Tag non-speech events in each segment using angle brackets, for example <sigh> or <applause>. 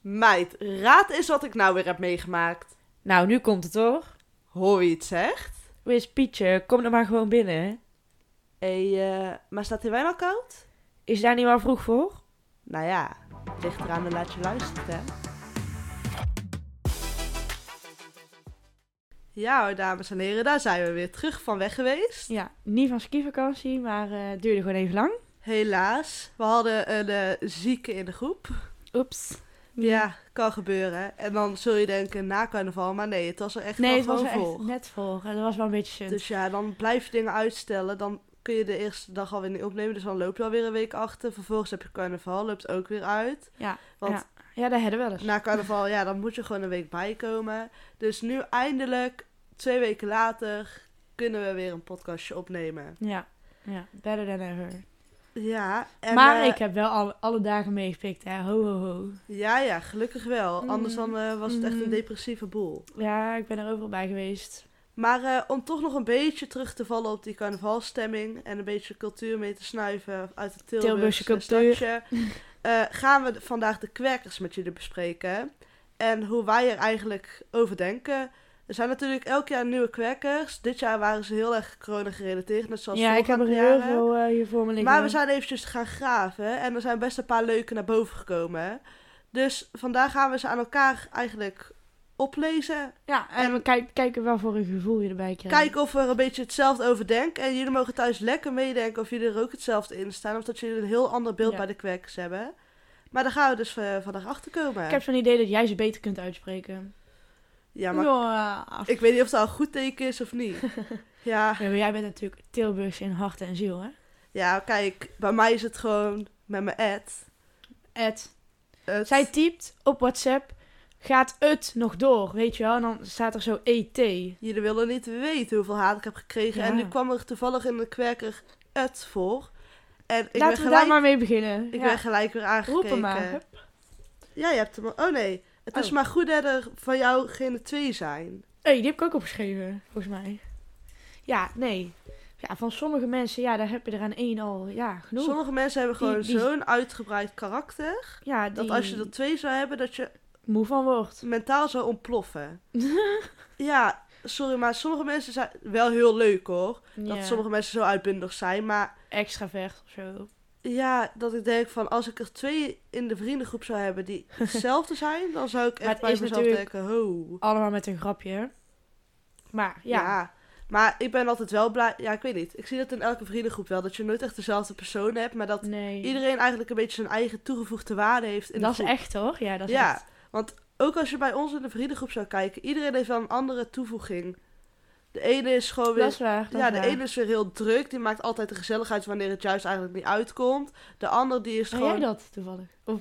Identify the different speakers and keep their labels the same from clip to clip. Speaker 1: Meid, raad eens wat ik nou weer heb meegemaakt.
Speaker 2: Nou, nu komt het hoor.
Speaker 1: Hoor je het zegt?
Speaker 2: Hoe is Pietje? Kom er maar gewoon binnen.
Speaker 1: Hé, eh, maar staat die wijn al koud?
Speaker 2: Is daar niet wel vroeg voor?
Speaker 1: Nou ja, ligt eraan en laat je luisteren, hè? Ja hoor, dames en heren, daar zijn we weer terug van weg geweest.
Speaker 2: Ja, niet van skivakantie, maar eh, het duurde gewoon even lang.
Speaker 1: Helaas, we hadden een eh, zieke in de groep.
Speaker 2: Oeps.
Speaker 1: Ja, kan gebeuren. En dan zul je denken, na carnaval, maar nee, het was er echt
Speaker 2: Nee,
Speaker 1: wel
Speaker 2: het was er
Speaker 1: gewoon
Speaker 2: echt
Speaker 1: vol.
Speaker 2: net vol. En dat was wel een beetje zin.
Speaker 1: Dus ja, dan blijf je dingen uitstellen. Dan kun je de eerste dag alweer niet opnemen. Dus dan loopt je alweer een week achter. Vervolgens heb je carnaval, loopt ook weer uit.
Speaker 2: Ja,
Speaker 1: Want
Speaker 2: ja. ja, dat hadden we wel eens.
Speaker 1: na carnaval, ja, dan moet je gewoon een week bijkomen. Dus nu eindelijk, twee weken later, kunnen we weer een podcastje opnemen.
Speaker 2: Ja, ja, better than ever.
Speaker 1: Ja, en,
Speaker 2: maar
Speaker 1: eh,
Speaker 2: ik heb wel alle, alle dagen meegepikt, hè. Ho, ho, ho.
Speaker 1: Ja, ja, gelukkig wel.
Speaker 2: Mm.
Speaker 1: Anders dan eh, was het echt een
Speaker 2: Mm.
Speaker 1: depressieve boel.
Speaker 2: Ja, ik ben er overal bij geweest.
Speaker 1: Maar eh, om toch nog een beetje terug te vallen op die carnavalstemming en een beetje cultuur mee te snuiven uit het Tilburgse,
Speaker 2: Tilburgse cultuur.
Speaker 1: stadje, <laughs> eh, gaan we vandaag de kwerkers met jullie bespreken en hoe wij er eigenlijk over denken. Er zijn natuurlijk elk jaar nieuwe kwerkers. Dit jaar waren ze heel erg corona gerelateerd, net zoals
Speaker 2: Ja, ik heb er
Speaker 1: vorige
Speaker 2: heel
Speaker 1: jaren.
Speaker 2: veel eh, hier voor me liggen.
Speaker 1: Maar we zijn eventjes gaan graven en er zijn best een paar leuke naar boven gekomen. Dus vandaag gaan we ze aan elkaar eigenlijk oplezen
Speaker 2: Ja, en, we kijk, kijken wel voor een gevoel je erbij krijgt.
Speaker 1: Kijk of we er een beetje hetzelfde over denken. En jullie mogen thuis lekker meedenken of jullie er ook hetzelfde in staan. Of dat jullie een heel ander beeld
Speaker 2: Ja.
Speaker 1: bij de kwekkers hebben. Maar daar gaan we dus eh, vandaag achter komen.
Speaker 2: Ik heb zo'n idee dat jij ze beter kunt uitspreken.
Speaker 1: Ja, maar
Speaker 2: Ja, af-
Speaker 1: ik weet niet of dat een goed teken is of
Speaker 2: <laughs>
Speaker 1: niet. ja,
Speaker 2: Ja, maar jij bent natuurlijk Tilburgs in hart en ziel, hè?
Speaker 1: ja, kijk, bij mij is het gewoon met mijn ad.
Speaker 2: Ed.
Speaker 1: Het-
Speaker 2: Zij typt op WhatsApp, gaat het nog door, weet je wel? En dan staat er zo E ET.
Speaker 1: Jullie willen niet weten hoeveel haat ik heb gekregen.
Speaker 2: Ja.
Speaker 1: En nu kwam er toevallig in de kwerker het voor. En ik ben
Speaker 2: Laten we daar
Speaker 1: gelijk,
Speaker 2: maar mee beginnen.
Speaker 1: ik
Speaker 2: Ja.
Speaker 1: ben eh. gelijk weer aangekeken.
Speaker 2: Roep hem maar. Hup.
Speaker 1: Ja, je hebt hem al. Oh nee, het is
Speaker 2: Oh.
Speaker 1: maar goed dat er van jou geen twee zijn.
Speaker 2: hey, die heb ik ook opgeschreven, volgens mij. Ja, nee. Ja, van sommige mensen, ja, daar heb je er aan één al, ja, genoeg.
Speaker 1: Sommige mensen hebben gewoon
Speaker 2: Die- die-
Speaker 1: zo'n uitgebreid karakter.
Speaker 2: ja, die
Speaker 1: Dat als je er twee zou hebben, dat je
Speaker 2: moe van wordt.
Speaker 1: mentaal zou
Speaker 2: <laughs>
Speaker 1: ontploffen. ja, sorry, maar sommige mensen zijn wel heel leuk hoor. Dat
Speaker 2: Ja.
Speaker 1: sommige mensen zo uitbundig zijn. Maar
Speaker 2: Extravert of zo.
Speaker 1: ja, dat ik denk van als ik er twee in de vriendengroep zou hebben
Speaker 2: <laughs>
Speaker 1: die hetzelfde zijn, dan zou ik
Speaker 2: Maar
Speaker 1: echt
Speaker 2: het
Speaker 1: bij
Speaker 2: is
Speaker 1: mezelf
Speaker 2: natuurlijk-
Speaker 1: denken: ho.
Speaker 2: Allemaal met een grapje, hè? Maar,
Speaker 1: Ja.
Speaker 2: ja.
Speaker 1: Maar ik ben altijd wel blij. Ja, ik weet niet. Ik zie dat in elke vriendengroep wel. Dat je nooit echt dezelfde persoon hebt. Maar dat
Speaker 2: Nee.
Speaker 1: iedereen eigenlijk een beetje zijn eigen toegevoegde waarde heeft. In de
Speaker 2: dat is
Speaker 1: groep.
Speaker 2: echt hoor. Ja, dat is
Speaker 1: Ja.
Speaker 2: echt.
Speaker 1: Ook als je bij ons in de vriendengroep zou kijken, iedereen heeft wel een andere toevoeging. De ene is gewoon weer.
Speaker 2: Dat is waar. dat
Speaker 1: ja,
Speaker 2: is
Speaker 1: de
Speaker 2: waar.
Speaker 1: ene is weer heel druk. Die maakt altijd de gezelligheid wanneer het juist eigenlijk niet uitkomt. De ander die is
Speaker 2: Ben
Speaker 1: gewoon.
Speaker 2: Oh, jij dat toevallig? Of...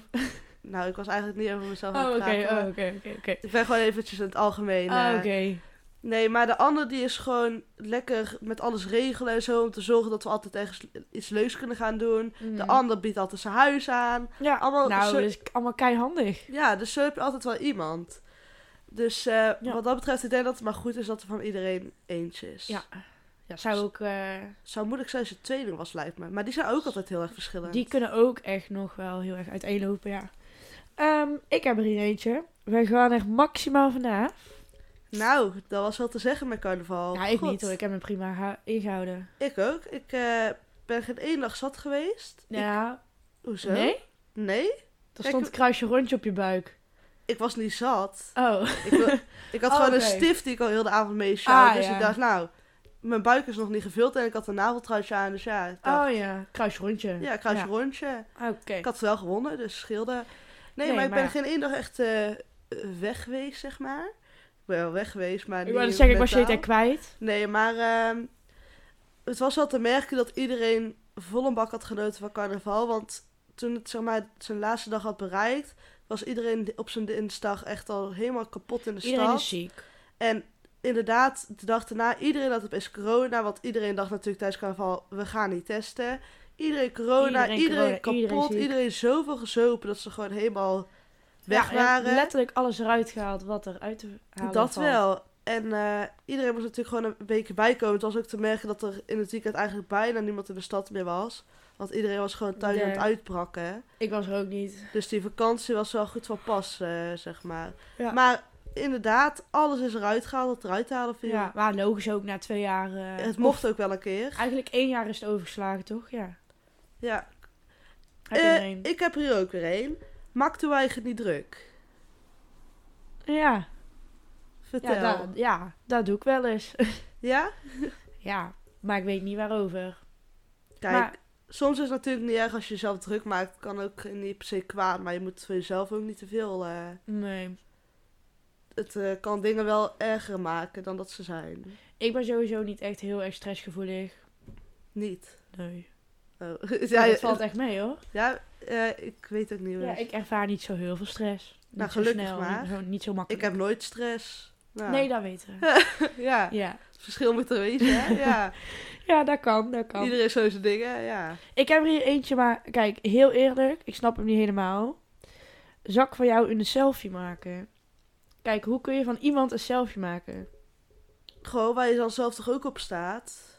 Speaker 1: Nou, ik was eigenlijk niet over mezelf aan
Speaker 2: <laughs> Oh,
Speaker 1: het
Speaker 2: oké,
Speaker 1: praten.
Speaker 2: oh,
Speaker 1: maar
Speaker 2: oké, oké, oké.
Speaker 1: Ik ben gewoon eventjes in het algemeen.
Speaker 2: Ah,
Speaker 1: eh,
Speaker 2: oké.
Speaker 1: Nee, maar de ander die is gewoon lekker met alles regelen en zo. Om te zorgen dat we altijd ergens iets leuks kunnen gaan doen. De
Speaker 2: Mm.
Speaker 1: ander biedt altijd zijn huis aan.
Speaker 2: Ja,
Speaker 1: allemaal
Speaker 2: nou,
Speaker 1: zo-
Speaker 2: dat is allemaal keihandig.
Speaker 1: Ja, dus zo heb je altijd wel iemand. Dus eh,
Speaker 2: Ja.
Speaker 1: wat dat betreft, ik denk dat het maar goed is dat er van iedereen eentje is.
Speaker 2: Ja. Ja, zou ook... eh,
Speaker 1: Zou moeilijk zijn als je tweeling was, lijkt me. Maar die zijn ook altijd heel erg verschillend.
Speaker 2: die kunnen ook echt nog wel heel erg uiteenlopen, ja. Ehm, ik heb er hier eentje. We gaan er maximaal vanaf.
Speaker 1: Nou, dat was wel te zeggen met carnaval.
Speaker 2: ja, ik
Speaker 1: God.
Speaker 2: niet hoor. Ik heb me prima hou- ingehouden.
Speaker 1: Ik ook. Ik eh, ben geen één dag zat geweest. Ik-
Speaker 2: Ja,
Speaker 1: Hoezo?
Speaker 2: nee?
Speaker 1: Nee?
Speaker 2: Er
Speaker 1: Kijk,
Speaker 2: stond een kruisje rondje op je buik.
Speaker 1: Ik was niet zat.
Speaker 2: <laughs> Oh,
Speaker 1: Ik, wil- ik had
Speaker 2: Oh,
Speaker 1: gewoon een
Speaker 2: oké.
Speaker 1: stift die ik al heel de avond mee sjouw.
Speaker 2: Ah,
Speaker 1: dus
Speaker 2: ja.
Speaker 1: ik dacht, nou, mijn buik is nog niet gevuld en ik had een naveltruitje aan. Dus ja, ik dacht,
Speaker 2: oh ja. Kruisje rondje.
Speaker 1: ja, ik ga eens een rondje.
Speaker 2: Ah, Oké.
Speaker 1: Ik had wel gewonnen, dus scheelde. Nee,
Speaker 2: Nee,
Speaker 1: maar ik
Speaker 2: maar
Speaker 1: ben
Speaker 2: ja.
Speaker 1: geen één dag echt eh, weg geweest, zeg maar. Ik ben wel weg geweest, maar
Speaker 2: Ik wou
Speaker 1: niet
Speaker 2: net zeggen, ik was je
Speaker 1: mentaal.
Speaker 2: niet echt kwijt.
Speaker 1: Nee, maar ehm, het was wel te merken dat iedereen vol een bak had genoten van carnaval. Want toen het zeg maar, zijn laatste dag had bereikt, was iedereen op zijn dinsdag echt al helemaal kapot in de
Speaker 2: Iedereen
Speaker 1: stad.
Speaker 2: is ziek.
Speaker 1: En inderdaad, de dag daarna, iedereen had opeens corona. Want iedereen dacht natuurlijk tijdens carnaval, we gaan niet testen. Iedereen corona, iedereen,
Speaker 2: Iedereen corona,
Speaker 1: kapot,
Speaker 2: iedereen
Speaker 1: iedereen,
Speaker 2: ziek.
Speaker 1: zoveel gezopen dat ze gewoon helemaal weg
Speaker 2: Ja, je hebt
Speaker 1: waren.
Speaker 2: letterlijk alles eruit gehaald wat er uit te halen
Speaker 1: dat
Speaker 2: valt.
Speaker 1: wel. En eh, iedereen moest natuurlijk gewoon een week bijkomen. Het was ook te merken dat er in het weekend eigenlijk bijna niemand in de stad meer was. Want iedereen was gewoon thuis aan het
Speaker 2: Ja.
Speaker 1: uitbrakken. hè.
Speaker 2: Ik was er ook niet.
Speaker 1: Dus die vakantie was wel goed van pas, eh, zeg maar.
Speaker 2: Ja.
Speaker 1: Maar inderdaad, alles is eruit gehaald wat eruit te halen viel.
Speaker 2: Ja, maar logisch ook na twee jaar. eh,
Speaker 1: Het
Speaker 2: of
Speaker 1: mocht ook wel een keer.
Speaker 2: Eigenlijk één jaar is het overgeslagen, toch? Ja.
Speaker 1: Ja.
Speaker 2: Heb je
Speaker 1: Eh,
Speaker 2: er één?
Speaker 1: ik heb er hier ook weer één. Maakt u eigenlijk niet druk?
Speaker 2: Ja,
Speaker 1: Vertel.
Speaker 2: ja,
Speaker 1: Ja?
Speaker 2: dat, ja, dat doe ik wel eens. <laughs>
Speaker 1: ja?
Speaker 2: ja, maar ik weet niet waarover.
Speaker 1: Kijk,
Speaker 2: Maar-
Speaker 1: soms is het natuurlijk niet erg als je jezelf druk maakt. Kan ook niet per se kwaad, maar je moet het voor jezelf ook niet te veel... eh,
Speaker 2: Nee.
Speaker 1: het eh, kan dingen wel erger maken dan dat ze zijn.
Speaker 2: Ik ben sowieso niet echt heel erg stressgevoelig.
Speaker 1: Niet.
Speaker 2: Nee.
Speaker 1: Oh. <laughs>
Speaker 2: Ja,
Speaker 1: ja,
Speaker 2: dat valt echt mee hoor.
Speaker 1: ja eh, ik weet ook niet hoe
Speaker 2: Ja,
Speaker 1: het is.
Speaker 2: ik ervaar niet zo heel veel stress. Niet
Speaker 1: Nou,
Speaker 2: zo
Speaker 1: gelukkig
Speaker 2: snel,
Speaker 1: maar.
Speaker 2: Niet, zo, niet zo
Speaker 1: Ik
Speaker 2: makkelijk.
Speaker 1: heb nooit stress. Nou,
Speaker 2: Nee, dat weten we.
Speaker 1: ja.
Speaker 2: ja.
Speaker 1: Het verschil moet er wezen, hè?
Speaker 2: <laughs>
Speaker 1: Ja.
Speaker 2: ja, dat kan, dat kan.
Speaker 1: Iedereen zo zijn dingen, ja.
Speaker 2: Ik heb er hier eentje, maar kijk, heel eerlijk, ik snap hem niet helemaal. Zak van jou in een selfie maken. Kijk, hoe kun je van iemand een selfie maken?
Speaker 1: Gewoon waar je dan zelf toch ook op staat.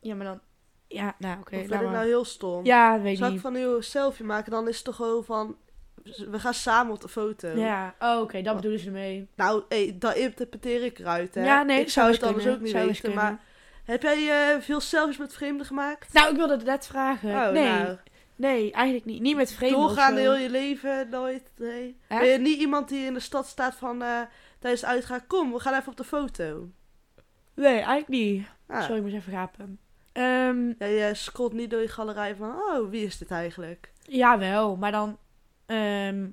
Speaker 2: Ja, maar dan... Ja, nou oké,
Speaker 1: of
Speaker 2: laat
Speaker 1: vind ik
Speaker 2: maar.
Speaker 1: nou heel stom?
Speaker 2: Ja, weet
Speaker 1: Zou ik
Speaker 2: niet.
Speaker 1: van een selfie maken, dan is het toch gewoon van... We gaan samen op de foto.
Speaker 2: Ja, oh, oké, dat bedoelen ze ermee.
Speaker 1: Nou, hé, dat interpreteer ik eruit, hè?
Speaker 2: Ja, nee,
Speaker 1: ik zou
Speaker 2: eens
Speaker 1: het anders
Speaker 2: kunnen,
Speaker 1: ook niet
Speaker 2: zou eens
Speaker 1: weten,
Speaker 2: kunnen.
Speaker 1: maar... Heb jij eh, veel selfies met vreemden gemaakt? Oh,
Speaker 2: Nou, ik wilde het net vragen. nee, nee, eigenlijk niet. Niet met vreemden
Speaker 1: Doorgaan
Speaker 2: of zo.
Speaker 1: nou. heel je leven, nooit. Nee.
Speaker 2: Hè?
Speaker 1: Ben je niet iemand die in de stad staat van eh, tijdens het uitgaan, kom, we gaan even op de foto.
Speaker 2: Nee, eigenlijk niet.
Speaker 1: Ah,
Speaker 2: Sorry, ik moest even gapen. Ehm,
Speaker 1: Ja, je scrolt niet door je galerij van, oh, wie is dit eigenlijk?
Speaker 2: jawel, maar dan ehm,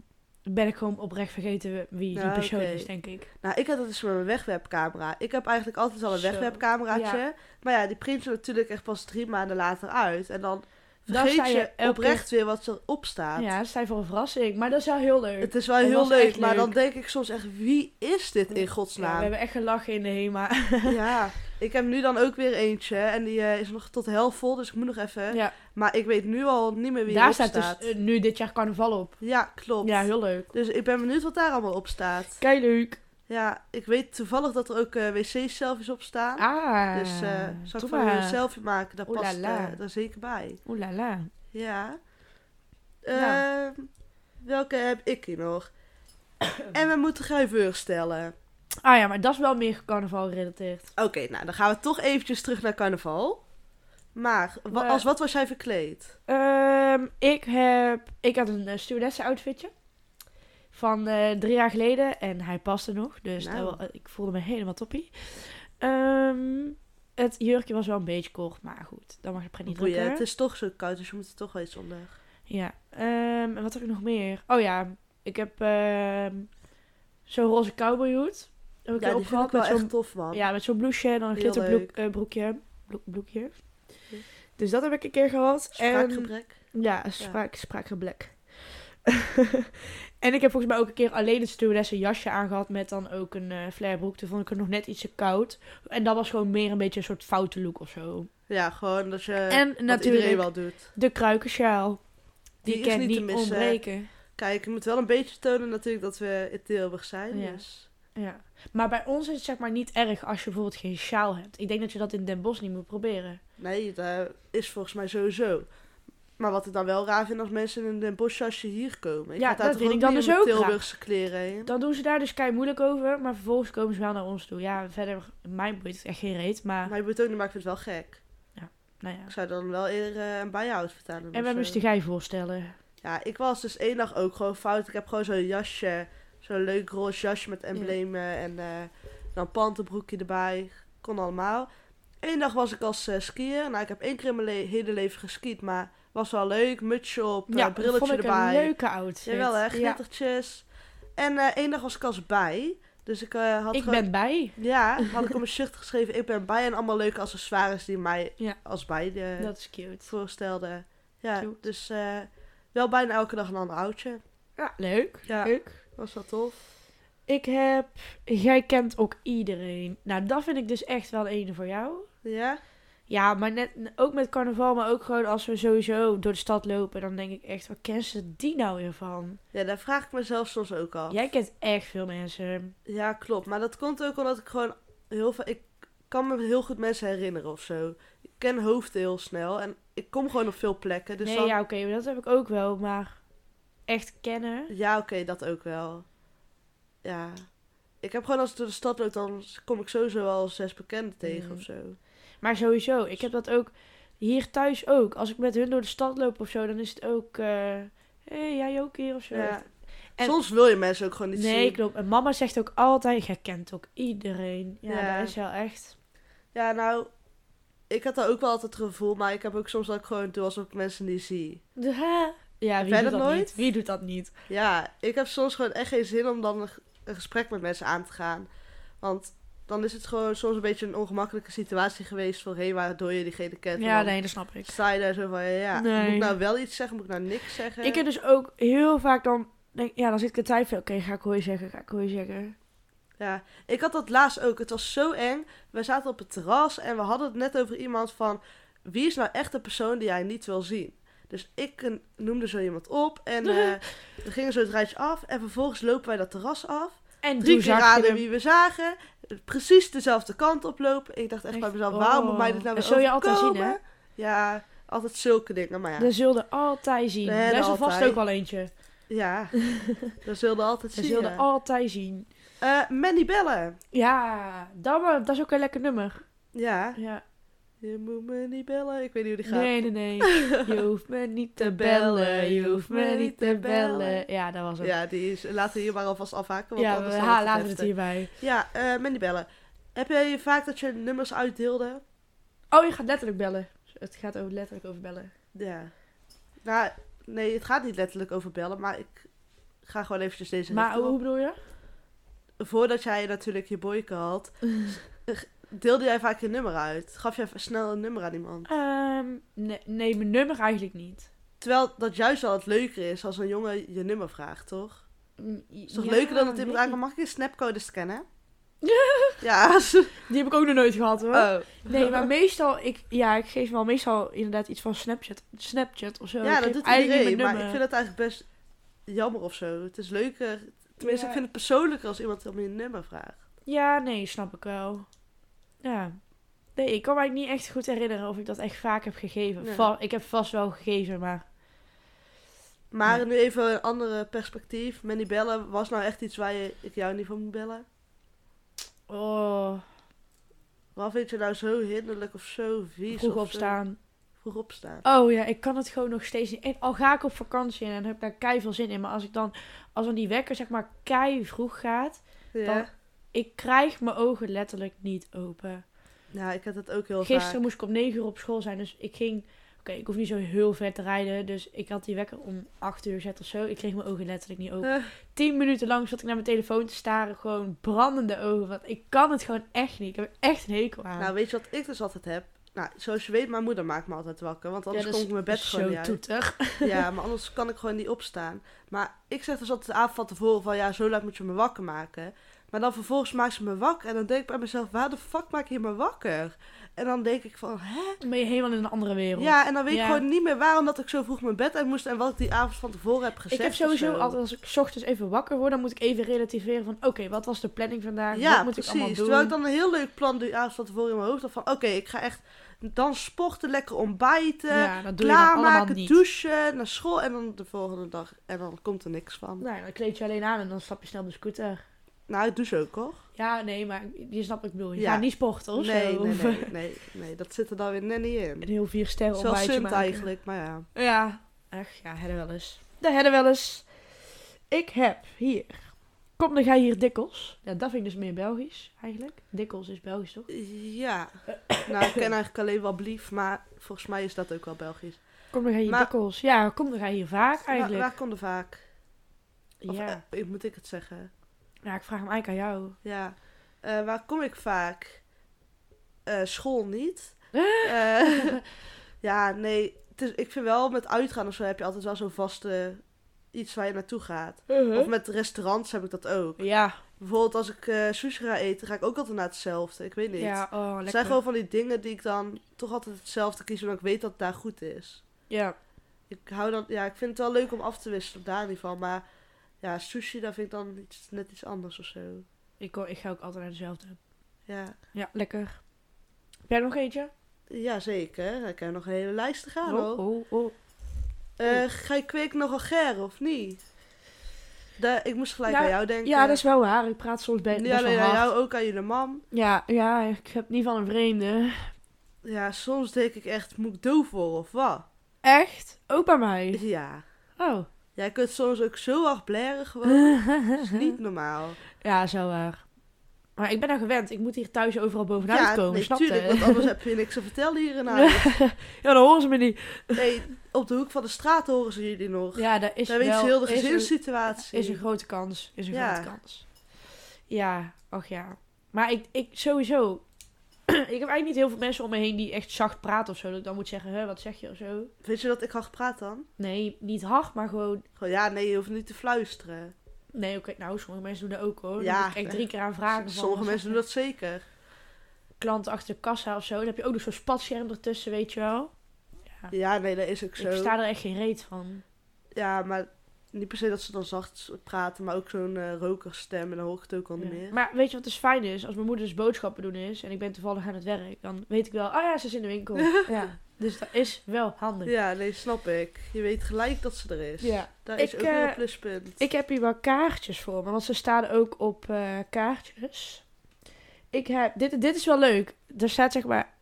Speaker 2: ben ik gewoon oprecht vergeten wie die
Speaker 1: Ja,
Speaker 2: persoon
Speaker 1: oké.
Speaker 2: is, denk ik.
Speaker 1: Nou, ik had dat dus met mijn wegwerpcamera. Ik heb eigenlijk altijd al een
Speaker 2: Zo,
Speaker 1: wegwerpcameraatje. Maar ja, die print er natuurlijk echt pas drie maanden later uit. En dan vergeet
Speaker 2: sta
Speaker 1: je,
Speaker 2: je elke
Speaker 1: oprecht weer wat erop staat.
Speaker 2: Ja, dat sta je voor een verrassing. Maar dat is wel heel leuk.
Speaker 1: Het is wel
Speaker 2: Dat
Speaker 1: heel
Speaker 2: was
Speaker 1: leuk,
Speaker 2: echt
Speaker 1: maar
Speaker 2: leuk.
Speaker 1: dan denk ik soms echt, wie is dit in
Speaker 2: Ja, we
Speaker 1: godsnaam?
Speaker 2: hebben echt gelachen in de HEMA.
Speaker 1: <laughs> Ja, ik heb nu dan ook weer eentje. En die eh, is nog tot de helft vol, dus ik moet nog even.
Speaker 2: Ja,
Speaker 1: Maar ik weet nu al niet meer wie
Speaker 2: <laughs> daar
Speaker 1: erop
Speaker 2: staat
Speaker 1: staat.
Speaker 2: dus eh, nu dit jaar carnaval op.
Speaker 1: Ja, klopt.
Speaker 2: Ja, heel leuk.
Speaker 1: Dus ik ben benieuwd wat daar allemaal op staat.
Speaker 2: Kei leuk.
Speaker 1: Ja, ik weet toevallig dat er ook eh, wc-selfies op staan.
Speaker 2: Ah,
Speaker 1: dus eh zal ik van
Speaker 2: doe
Speaker 1: jullie
Speaker 2: maar.
Speaker 1: een selfie maken? Daar
Speaker 2: Oeh la
Speaker 1: past
Speaker 2: la.
Speaker 1: eh, daar zeker bij.
Speaker 2: Oeh la la.
Speaker 1: Ja.
Speaker 2: Nou.
Speaker 1: Ehm, welke heb ik hier
Speaker 2: <coughs>
Speaker 1: nog? en we moeten graveur stellen.
Speaker 2: Ah ja, maar dat is wel meer carnaval gerelateerd.
Speaker 1: Oké, nou dan gaan we toch eventjes terug naar carnaval. Maar wa-
Speaker 2: Maar-
Speaker 1: als wat was jij verkleed?
Speaker 2: Ehm, ik heb... Ik had een eh, stewardessen outfitje. Van eh, drie jaar geleden. En hij paste nog. Dus
Speaker 1: Nou.
Speaker 2: dat wel- ik voelde me helemaal toppie. Ehm, het jurkje was wel een beetje kort. Maar goed, dan mag je pret niet
Speaker 1: Boeien,
Speaker 2: drukken.
Speaker 1: het is toch zo koud, dus je moet er toch wel iets onder.
Speaker 2: Ja. ehm, en wat heb ik nog meer? Oh ja, ik heb ehm, zo'n roze cowboyhoed. Heb ik
Speaker 1: Ja, die vind ik
Speaker 2: opgehaald
Speaker 1: wel
Speaker 2: met
Speaker 1: echt
Speaker 2: zo'n
Speaker 1: tof, man.
Speaker 2: ja, met zo'n blouseje en dan een
Speaker 1: Heel
Speaker 2: glitterbroekje.
Speaker 1: leuk.
Speaker 2: broekje. Bloek- bloekje.
Speaker 1: Ja.
Speaker 2: Dus dat heb ik een keer gehad. En,
Speaker 1: Spraakgebrek.
Speaker 2: ja, spraak, spraakgebrek. <laughs> en ik heb volgens mij ook een keer alleen het stewardessen jasje aangehad met dan ook een eh flarebroek. Toen vond ik het nog net iets te koud. En dat was gewoon meer een beetje een soort foute look of zo.
Speaker 1: Ja, gewoon dat je
Speaker 2: en
Speaker 1: dat Eh, iedereen
Speaker 2: natuurlijk
Speaker 1: wel doet.
Speaker 2: de kruikensjaal. Die,
Speaker 1: Die is
Speaker 2: kan
Speaker 1: niet
Speaker 2: niet,
Speaker 1: te missen.
Speaker 2: ontbreken.
Speaker 1: Kijk, je moet wel een beetje tonen natuurlijk dat we in Tilburg zijn.
Speaker 2: Oh Ja.
Speaker 1: Dus.
Speaker 2: Ja, maar bij ons is het zeg maar niet erg als je bijvoorbeeld geen sjaal hebt. Ik denk dat je dat in Den Bosch niet moet proberen.
Speaker 1: Nee, dat is volgens mij sowieso. Maar wat ik dan wel raar vind als mensen in een bosjasje hier komen. Ik
Speaker 2: Ja,
Speaker 1: ga daar
Speaker 2: dat
Speaker 1: toch
Speaker 2: vind ik
Speaker 1: ook
Speaker 2: dan
Speaker 1: niet
Speaker 2: dus
Speaker 1: in mijn
Speaker 2: ook raar.
Speaker 1: Tilburgse kleren heen.
Speaker 2: Dan doen ze daar dus kei moeilijk over, maar vervolgens komen ze wel naar ons toe. Ja, verder, mij boeit het echt geen reet, maar
Speaker 1: Maar je moet ook niet, maar ik vind het wel gek.
Speaker 2: nou ja.
Speaker 1: Ik zou dan wel eerder eh, een buy-out vertalen.
Speaker 2: En we dus moesten de gij voorstellen.
Speaker 1: Ja, ik was dus één dag ook gewoon fout. Ik heb gewoon zo'n jasje, zo'n leuk roze jasje met emblemen en eh, dan pantenbroekje erbij. Kon allemaal. Eén dag was ik als eh, skier. Nou, ik heb één keer in mijn le- hele leven geskiet, maar was wel leuk. Mutsje op, eh,
Speaker 2: Ja, dat
Speaker 1: brilletje
Speaker 2: vond ik
Speaker 1: erbij.
Speaker 2: een leuke outfit.
Speaker 1: Jawel hè,
Speaker 2: Ja,
Speaker 1: glittertjes. En eh, één dag was ik als bij. Dus ik eh, had
Speaker 2: ik
Speaker 1: gewoon...
Speaker 2: ben bij. <laughs>
Speaker 1: Ja, had ik op mijn shirt geschreven, ik ben bij. En allemaal leuke accessoires die mij
Speaker 2: Ja.
Speaker 1: als bij eh,
Speaker 2: Dat is cute.
Speaker 1: voorstelden. Ja,
Speaker 2: Cute.
Speaker 1: dus eh, wel bijna elke dag een ander oudje.
Speaker 2: Ja, leuk.
Speaker 1: Ja.
Speaker 2: Leuk.
Speaker 1: Was dat tof?
Speaker 2: Ik heb, jij kent ook iedereen. Nou, dat vind ik dus echt wel een voor jou.
Speaker 1: Ja?
Speaker 2: Ja, maar net ook met carnaval, maar ook gewoon als we sowieso door de stad lopen, dan denk ik echt, waar kennen ze die nou weer van?
Speaker 1: Ja, daar vraag ik mezelf soms ook al.
Speaker 2: Jij kent echt veel mensen.
Speaker 1: Ja, klopt. Maar dat komt ook omdat ik gewoon heel veel... Ik kan me heel goed mensen herinneren of zo. ken hoofden heel snel. En ik kom gewoon op veel plekken. Dus
Speaker 2: nee,
Speaker 1: dan...
Speaker 2: ja, oké, maar dat heb ik ook wel. Maar echt kennen.
Speaker 1: Ja, oké, dat ook wel. Ja. Ik heb gewoon als ik door de stad loop, dan kom ik sowieso wel zes bekenden tegen
Speaker 2: Mhm.
Speaker 1: of zo.
Speaker 2: Maar sowieso, ik heb dat ook hier thuis ook. Als ik met hun door de stad loop of zo, dan is het ook... eh, Hé, hey, jij ook hier of zo.
Speaker 1: Ja.
Speaker 2: En-
Speaker 1: Soms wil je mensen ook gewoon niet
Speaker 2: Nee,
Speaker 1: zien.
Speaker 2: klopt. En mama zegt ook altijd, jij kent ook iedereen. Ja,
Speaker 1: Ja.
Speaker 2: dat is wel echt.
Speaker 1: Ja, nou, ik had daar ook wel altijd het gevoel, maar ik heb ook soms dat ik gewoon doe alsof ik mensen niet zie.
Speaker 2: Ja, ja wie
Speaker 1: jij
Speaker 2: doet
Speaker 1: dat
Speaker 2: dat
Speaker 1: nooit?
Speaker 2: niet? Wie doet dat niet?
Speaker 1: Ja, ik heb soms gewoon echt geen zin om dan een, g- een gesprek met mensen aan te gaan. Want dan is het gewoon soms een beetje een ongemakkelijke situatie geweest voorheen, waardoor je diegene kent. En
Speaker 2: Ja,
Speaker 1: dan
Speaker 2: nee, dat snap ik.
Speaker 1: Sta je daar zo van, ja, ja, moet
Speaker 2: Nee.
Speaker 1: ik nou wel iets zeggen, moet ik nou niks zeggen?
Speaker 2: Ik heb dus ook heel vaak dan... Denk, ja, dan zit ik te twijfelen. Oké, ga ik hooi zeggen? Ga ik hooi zeggen?
Speaker 1: Ja, ik had dat laatst ook. Het was zo eng. We zaten op het terras en we hadden het net over iemand van... Wie is nou echt de persoon die jij niet wil zien? Dus ik eh, noemde zo iemand op en
Speaker 2: <laughs>
Speaker 1: eh, we gingen zo het rijtje af. En vervolgens lopen wij dat terras af.
Speaker 2: En
Speaker 1: Drie
Speaker 2: toen
Speaker 1: keer
Speaker 2: zag je
Speaker 1: raden
Speaker 2: hem.
Speaker 1: wie we zagen. Precies dezelfde kant oplopen. Ik dacht echt, bij
Speaker 2: Echt?
Speaker 1: mezelf,
Speaker 2: Oh.
Speaker 1: waarom moet mij dit nou weer
Speaker 2: Dat zul je altijd zien, Dus-
Speaker 1: overkomen? Ja, altijd zulke dingen. Maar ja,
Speaker 2: Dat zulde altijd zien.
Speaker 1: We
Speaker 2: Daar
Speaker 1: hebben
Speaker 2: is er vast
Speaker 1: altijd.
Speaker 2: ook wel eentje. <laughs>
Speaker 1: ja. dat zullen altijd
Speaker 2: Ze
Speaker 1: zien.
Speaker 2: zulde
Speaker 1: ja.
Speaker 2: altijd zien.
Speaker 1: Eh, Mandy Bellen.
Speaker 2: Ja, dat, maar- dat is ook een lekker nummer.
Speaker 1: Ja,
Speaker 2: Ja.
Speaker 1: je moet me niet bellen. Ik weet niet hoe die gaat.
Speaker 2: Nee, nee,
Speaker 1: <laughs>
Speaker 2: nee. Je hoeft me niet te bellen. Je hoeft me niet te bellen. Ja, dat was het. Ja,
Speaker 1: Ja, die is, laten we hier maar alvast afhaken. Want
Speaker 2: ja
Speaker 1: anders
Speaker 2: we
Speaker 1: dan
Speaker 2: ha,
Speaker 1: wordt
Speaker 2: laten we het
Speaker 1: heftig.
Speaker 2: hierbij.
Speaker 1: Ja, eh Mandy bellen. Heb jij vaak dat je nummers uitdeelde?
Speaker 2: Oh, je gaat letterlijk bellen. Het gaat over, letterlijk over bellen.
Speaker 1: Ja. Nou, nee, het gaat niet letterlijk over bellen, maar ik ga gewoon eventjes deze
Speaker 2: Maar
Speaker 1: richting
Speaker 2: hoe
Speaker 1: op.
Speaker 2: bedoel je?
Speaker 1: Voordat jij natuurlijk je boyke
Speaker 2: <laughs>
Speaker 1: had, eh, deelde jij vaak je nummer uit? Gaf jij snel een nummer aan iemand?
Speaker 2: Ehm, nee, nee, mijn nummer eigenlijk niet.
Speaker 1: Terwijl dat juist wel het leuker is als een jongen je nummer vraagt, toch?
Speaker 2: Mm,
Speaker 1: Is toch
Speaker 2: ja,
Speaker 1: leuker dan dat
Speaker 2: weet
Speaker 1: iemand aankomt,
Speaker 2: ik.
Speaker 1: mag ik je snapcode scannen?
Speaker 2: <laughs>
Speaker 1: ja,
Speaker 2: Die heb ik ook nog nooit gehad hoor.
Speaker 1: oh.
Speaker 2: Nee, maar meestal, ik, ja, ik geef wel meestal inderdaad iets van Snapchat, Snapchat of zo. Ik
Speaker 1: Ja, dat
Speaker 2: geef
Speaker 1: doet
Speaker 2: eigenlijk
Speaker 1: iedereen.
Speaker 2: mijn
Speaker 1: Maar ik
Speaker 2: nummer.
Speaker 1: vind het eigenlijk best jammer of zo. Het is leuker. Tenminste,
Speaker 2: Ja.
Speaker 1: ik vind het persoonlijker als iemand om je nummer vraagt.
Speaker 2: Ja, nee, snap ik wel. Ja. Nee, ik kan mij niet echt goed herinneren of ik dat echt vaak heb gegeven.
Speaker 1: Nee.
Speaker 2: Va- ik heb vast wel gegeven, maar...
Speaker 1: Maar
Speaker 2: Ja.
Speaker 1: nu even een andere perspectief. Manny bellen was nou echt iets waar je, ik jou niet van moet bellen.
Speaker 2: Oh,
Speaker 1: Wat vind je nou zo hinderlijk of zo vies?
Speaker 2: vroeg
Speaker 1: of zo-
Speaker 2: opstaan.
Speaker 1: Vroeg opstaan.
Speaker 2: Oh ja, ik kan het gewoon nog steeds niet. En al ga ik op vakantie en dan heb ik daar kei veel zin in. Maar als ik dan, als dan die wekker zeg maar kei vroeg gaat...
Speaker 1: Ja.
Speaker 2: Dan- Ik krijg mijn ogen letterlijk niet open.
Speaker 1: ja, ik had dat ook heel
Speaker 2: Gisteren
Speaker 1: vaak.
Speaker 2: moest ik om 9 uur op school zijn, dus ik ging... Oké, ik hoef niet zo heel ver te rijden, dus ik had die wekker om 8 uur gezet of zo. Ik kreeg mijn ogen letterlijk niet open.
Speaker 1: Eh,
Speaker 2: 10 minuten lang zat ik naar mijn telefoon te staren. Gewoon brandende ogen. Want ik kan het gewoon echt niet. Ik heb er echt een hekel aan.
Speaker 1: nou, weet je wat ik dus altijd heb? Nou, zoals je weet, mijn moeder maakt me altijd wakker. Want anders
Speaker 2: dat
Speaker 1: kom
Speaker 2: is-
Speaker 1: ik mijn
Speaker 2: dat
Speaker 1: bed
Speaker 2: is
Speaker 1: gewoon
Speaker 2: zo
Speaker 1: niet uit.
Speaker 2: toeter. <laughs>
Speaker 1: Ja, maar anders kan ik gewoon niet opstaan. Maar ik zeg dus altijd de avond van tevoren van ja, zo laat moet je me wakker maken. Maar dan vervolgens maakt ze me wakker en dan denk ik bij mezelf, waar de fuck maak je me wakker? En dan denk ik van, hè?
Speaker 2: Dan ben je helemaal in een andere wereld.
Speaker 1: Ja, en dan weet
Speaker 2: Ja.
Speaker 1: ik gewoon niet meer waarom dat ik zo vroeg mijn bed uit moest en wat ik die avond van tevoren heb gezegd.
Speaker 2: ik heb
Speaker 1: of
Speaker 2: sowieso
Speaker 1: zo.
Speaker 2: altijd, als ik 's ochtends even wakker word, dan moet ik even relativeren van... Oké, wat was de planning vandaag?
Speaker 1: Ja,
Speaker 2: wat moet ik allemaal
Speaker 1: precies.
Speaker 2: doen?
Speaker 1: Terwijl ik dan een heel leuk plan die avond van tevoren in mijn hoofd had van, oké, ik ga echt dan sporten, lekker ontbijten,
Speaker 2: ja, dat doe je dan allemaal
Speaker 1: eh, klaarmaken,
Speaker 2: niet.
Speaker 1: douchen, naar school en dan de volgende dag. En dan komt er niks van.
Speaker 2: Nou, ja, dan kleed je alleen aan en dan stap je snel op de scooter.
Speaker 1: Nou, ik douche ook hoor.
Speaker 2: Ja, nee, maar je snapt wat ik bedoel. Je
Speaker 1: Ja.
Speaker 2: gaat niet sporten of
Speaker 1: nee,
Speaker 2: zo.
Speaker 1: Nee, nee, nee, nee, dat zit er dan weer net niet
Speaker 2: <laughs> Een
Speaker 1: in.
Speaker 2: heel vier sterren
Speaker 1: Zoals
Speaker 2: ontbijtje
Speaker 1: Sunt
Speaker 2: maken.
Speaker 1: eigenlijk, maar ja.
Speaker 2: Ja. Echt, ja, hadden wel eens. Dat hadden wel eens. Ik heb hier. Kom, dan ga je hier dikkels. Ja, dat vind ik dus meer Belgisch, eigenlijk. Dikkels is Belgisch, toch?
Speaker 1: Ja. nou, ik ken eigenlijk alleen wel blief, maar volgens mij is dat ook wel Belgisch.
Speaker 2: Kom, dan ga je hier
Speaker 1: Maar-
Speaker 2: dikkels. Ja, kom, dan ga je hier vaak,
Speaker 1: Waar,
Speaker 2: eigenlijk.
Speaker 1: waar komt de vaak? Of,
Speaker 2: ja.
Speaker 1: eh, moet ik het zeggen?
Speaker 2: ja, ik vraag hem eigenlijk aan jou.
Speaker 1: Ja. Eh, waar kom ik vaak? Eh, school
Speaker 2: <laughs>
Speaker 1: niet. Eh, <laughs> ja, nee. Het is, ik vind wel, met uitgaan of zo heb je altijd wel zo'n vaste iets waar je naartoe gaat. Of met restaurants heb ik dat ook.
Speaker 2: Ja,
Speaker 1: Bijvoorbeeld als ik eh sushi ga eten, ga ik ook altijd naar hetzelfde. Ik weet niet.
Speaker 2: ja, oh, lekker.
Speaker 1: Het zijn gewoon van die dingen die ik dan toch altijd hetzelfde kies, omdat ik weet dat het daar goed is.
Speaker 2: Ja.
Speaker 1: Ik hou dan, ja, ik vind het wel leuk om af te wisselen op daar niet van, maar ja, sushi, daar vind ik dan iets, net iets anders of zo.
Speaker 2: Ik, hoor- ik ga ook altijd naar dezelfde.
Speaker 1: Ja.
Speaker 2: Ja, lekker. Heb jij nog eentje?
Speaker 1: Jazeker, ik heb nog een hele lijst te gaan hoor.
Speaker 2: oh, oh, oh.
Speaker 1: Eh, ga je kweek nog een ger of niet? Daar, ik moest gelijk
Speaker 2: Ja,
Speaker 1: aan jou denken.
Speaker 2: Ja, dat is wel waar. Ik praat soms bij
Speaker 1: Niet
Speaker 2: best wel
Speaker 1: alleen aan
Speaker 2: hard.
Speaker 1: jou, ook aan jullie man.
Speaker 2: Ja, ja, ik heb niet van een vreemde.
Speaker 1: Ja, soms denk ik echt, moet ik doof worden of wat?
Speaker 2: Echt? Ook bij mij?
Speaker 1: Ja.
Speaker 2: Oh.
Speaker 1: Jij kunt soms ook zo hard blaren gewoon.
Speaker 2: <laughs>
Speaker 1: dat is niet normaal.
Speaker 2: Ja, zo waar. Maar ik ben daar gewend. Ik moet hier thuis overal bovenuit
Speaker 1: ja,
Speaker 2: komen,
Speaker 1: nee,
Speaker 2: snap
Speaker 1: tuurlijk,
Speaker 2: je?
Speaker 1: want anders heb je niks te vertellen hier
Speaker 2: <laughs>
Speaker 1: in huis.
Speaker 2: Ja, dan horen ze me niet.
Speaker 1: Nee, op de hoek van de straat horen ze jullie nog.
Speaker 2: Ja, daar is
Speaker 1: Dan
Speaker 2: wel...
Speaker 1: weet je heel de
Speaker 2: is een-
Speaker 1: gezinssituatie.
Speaker 2: Is een grote kans. Is een
Speaker 1: Ja.
Speaker 2: grote kans. Ja, ach ja. Maar ik, ik sowieso... <clears throat> ik heb eigenlijk niet heel veel mensen om me heen die echt zacht praten of zo. Dat ik dan moet zeggen, hè, wat zeg je of zo.
Speaker 1: Weet je dat ik hard praat dan?
Speaker 2: Nee, niet hard, maar gewoon...
Speaker 1: Gewoon, ja, nee, je hoeft niet te fluisteren.
Speaker 2: Nee, oké, nou, sommige mensen doen dat ook hoor.
Speaker 1: Ja.
Speaker 2: Ja. Ik echt drie keer aan vragen. van,
Speaker 1: Sommige
Speaker 2: wat
Speaker 1: mensen
Speaker 2: zeg
Speaker 1: doen dat zeker.
Speaker 2: je? Klanten achter de kassa of zo. Dan heb je ook nog zo'n spatscherm ertussen, weet je wel.
Speaker 1: Ja, nee, dat is ook zo.
Speaker 2: Ik versta er echt geen reet van.
Speaker 1: Ja, maar niet per se dat ze dan zacht praten, maar ook zo'n eh, rokerstem en dan hoor ik het ook al niet
Speaker 2: Ja.
Speaker 1: meer.
Speaker 2: Maar weet je wat dus fijn is? Als mijn moeder dus boodschappen doen is en ik ben toevallig aan het werk, dan weet ik wel, oh ja, ze is in de
Speaker 1: <laughs>
Speaker 2: winkel. ja. Dus dat is wel handig.
Speaker 1: Ja, nee, snap ik. Je weet gelijk dat ze er is.
Speaker 2: Ja.
Speaker 1: Daar is
Speaker 2: Ik,
Speaker 1: ook weer een
Speaker 2: eh,
Speaker 1: pluspunt.
Speaker 2: Ik heb hier wel kaartjes voor me, want ze staan ook op eh, kaartjes. Ik heb, dit, dit is wel leuk. Er staat zeg maar,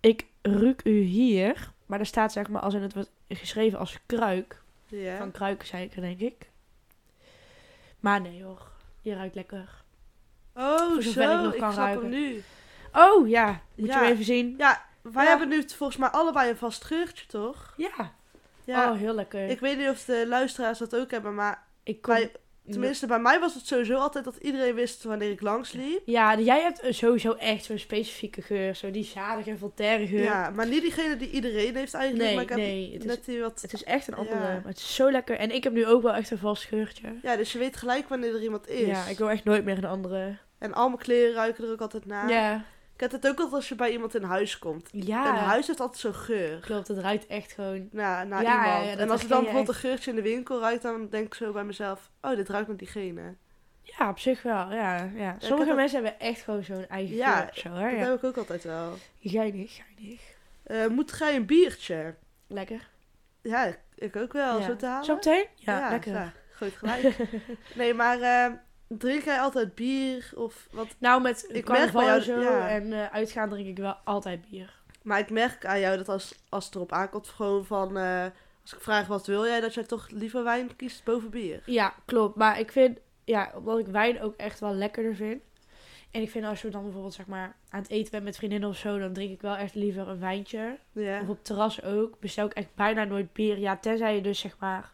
Speaker 2: ik ruk u hier. Maar daar staat zeg maar, als in het wordt geschreven als kruik.
Speaker 1: ja.
Speaker 2: Van kruiken zijn er, denk ik. Maar nee hoor, je ruikt lekker.
Speaker 1: Oh,
Speaker 2: voor
Speaker 1: zo, ik,
Speaker 2: zover ik nog kan
Speaker 1: snap hem
Speaker 2: ruiken.
Speaker 1: nu.
Speaker 2: Oh ja, moet
Speaker 1: Ja.
Speaker 2: je hem even zien.
Speaker 1: Ja, wij
Speaker 2: Ja.
Speaker 1: hebben nu volgens mij allebei een vast geurtje, toch?
Speaker 2: Ja.
Speaker 1: Ja.
Speaker 2: Oh, heel lekker.
Speaker 1: Ik weet niet of de luisteraars dat ook hebben, maar
Speaker 2: Ik kom...
Speaker 1: Bij- tenminste bij mij was het sowieso altijd dat iedereen wist wanneer ik langsliep.
Speaker 2: Ja, jij hebt sowieso echt zo'n specifieke geur. Zo die zadige voltaire geur.
Speaker 1: Ja, maar niet diegene die iedereen heeft eigenlijk,
Speaker 2: nee,
Speaker 1: maar ik heb
Speaker 2: nee. Het is,
Speaker 1: net die wat...
Speaker 2: het is echt een andere.
Speaker 1: Ja.
Speaker 2: Maar het is zo lekker. En ik heb nu ook wel echt een vast geurtje.
Speaker 1: Ja, dus je weet gelijk wanneer er iemand is.
Speaker 2: Ja, ik wil echt nooit meer een andere.
Speaker 1: En al mijn kleren ruiken er ook altijd naar.
Speaker 2: Ja. Ah.
Speaker 1: Ik heb het ook altijd als je bij iemand in huis komt.
Speaker 2: Ja.
Speaker 1: Een huis heeft altijd zo'n geur.
Speaker 2: Klopt, het ruikt echt gewoon.
Speaker 1: Naar, naar
Speaker 2: Ja, ja,
Speaker 1: iemand.
Speaker 2: dat
Speaker 1: en als ik
Speaker 2: herken
Speaker 1: dan
Speaker 2: je
Speaker 1: bijvoorbeeld een geurtje in de winkel ruikt, dan denk ik zo bij mezelf... Oh, dit ruikt naar diegene.
Speaker 2: Oh, Ja, op zich wel. Ja, ja. Sommige
Speaker 1: heb-
Speaker 2: mensen hebben echt gewoon zo'n eigen
Speaker 1: Ja,
Speaker 2: geur. of Zo, hè?
Speaker 1: Dat
Speaker 2: Ja.
Speaker 1: heb ik ook altijd wel.
Speaker 2: Geinig, geinig.
Speaker 1: Eh, moet gij een biertje?
Speaker 2: Lekker.
Speaker 1: Ja, ik ook wel.
Speaker 2: ja.
Speaker 1: Zo te halen?
Speaker 2: Zo meteen? Ja, lekker.
Speaker 1: ja, goed
Speaker 2: <laughs>
Speaker 1: gelijk. nee, maar eh, drink jij altijd bier of wat?
Speaker 2: Nou, met
Speaker 1: merk
Speaker 2: ik
Speaker 1: bij
Speaker 2: carnaval
Speaker 1: jou-
Speaker 2: en zo
Speaker 1: ja.
Speaker 2: en eh, uitgaan drink ik wel altijd bier.
Speaker 1: Maar ik merk aan jou dat als, als het erop aankomt, gewoon van... eh, als ik vraag wat wil jij, dat jij toch liever wijn kiest boven bier.
Speaker 2: Ja, klopt. Maar ik vind, ja, omdat ik wijn ook echt wel lekkerder vind. En ik vind als je dan bijvoorbeeld zeg maar aan het eten bent met vriendinnen of zo, dan drink ik wel echt liever een wijntje.
Speaker 1: Ja.
Speaker 2: Of op terras ook. Bestel ik echt bijna nooit bier. Ja, tenzij je dus zeg maar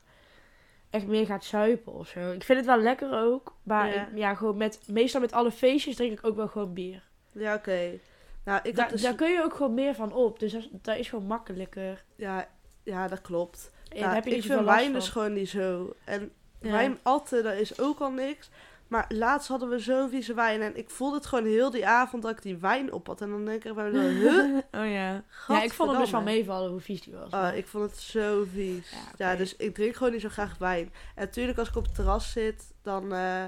Speaker 2: echt meer gaat zuipen of zo. Ik vind het wel lekker ook. Maar
Speaker 1: Ja.
Speaker 2: ik- ja, gewoon met, meestal met alle feestjes drink ik ook wel gewoon bier.
Speaker 1: Ja, oké. Nou, ik
Speaker 2: Da-
Speaker 1: had dus...
Speaker 2: Daar kun je ook gewoon meer van op. Dus dat, is- dat is gewoon makkelijker.
Speaker 1: Ja, ja, dat klopt.
Speaker 2: En
Speaker 1: Nou,
Speaker 2: daar heb je
Speaker 1: ik
Speaker 2: niet zoveel
Speaker 1: vind
Speaker 2: last
Speaker 1: wijn
Speaker 2: van.
Speaker 1: dus gewoon niet zo. En
Speaker 2: Ja.
Speaker 1: wijn atten, dat is ook al niks. Maar laatst hadden we zo'n vieze wijn. En ik voelde het gewoon heel die avond dat ik die wijn op had. En dan denk ik bij mezelf,
Speaker 2: <laughs>
Speaker 1: huh?
Speaker 2: Oh ja. Ja, ik vond het
Speaker 1: Gadverdamme.
Speaker 2: best wel meevallen hoe vies die was.
Speaker 1: Ah, ik vond het zo vies. Ja,
Speaker 2: Ja, oké.
Speaker 1: dus ik drink gewoon niet zo graag wijn. En natuurlijk als ik op het terras zit, dan eh,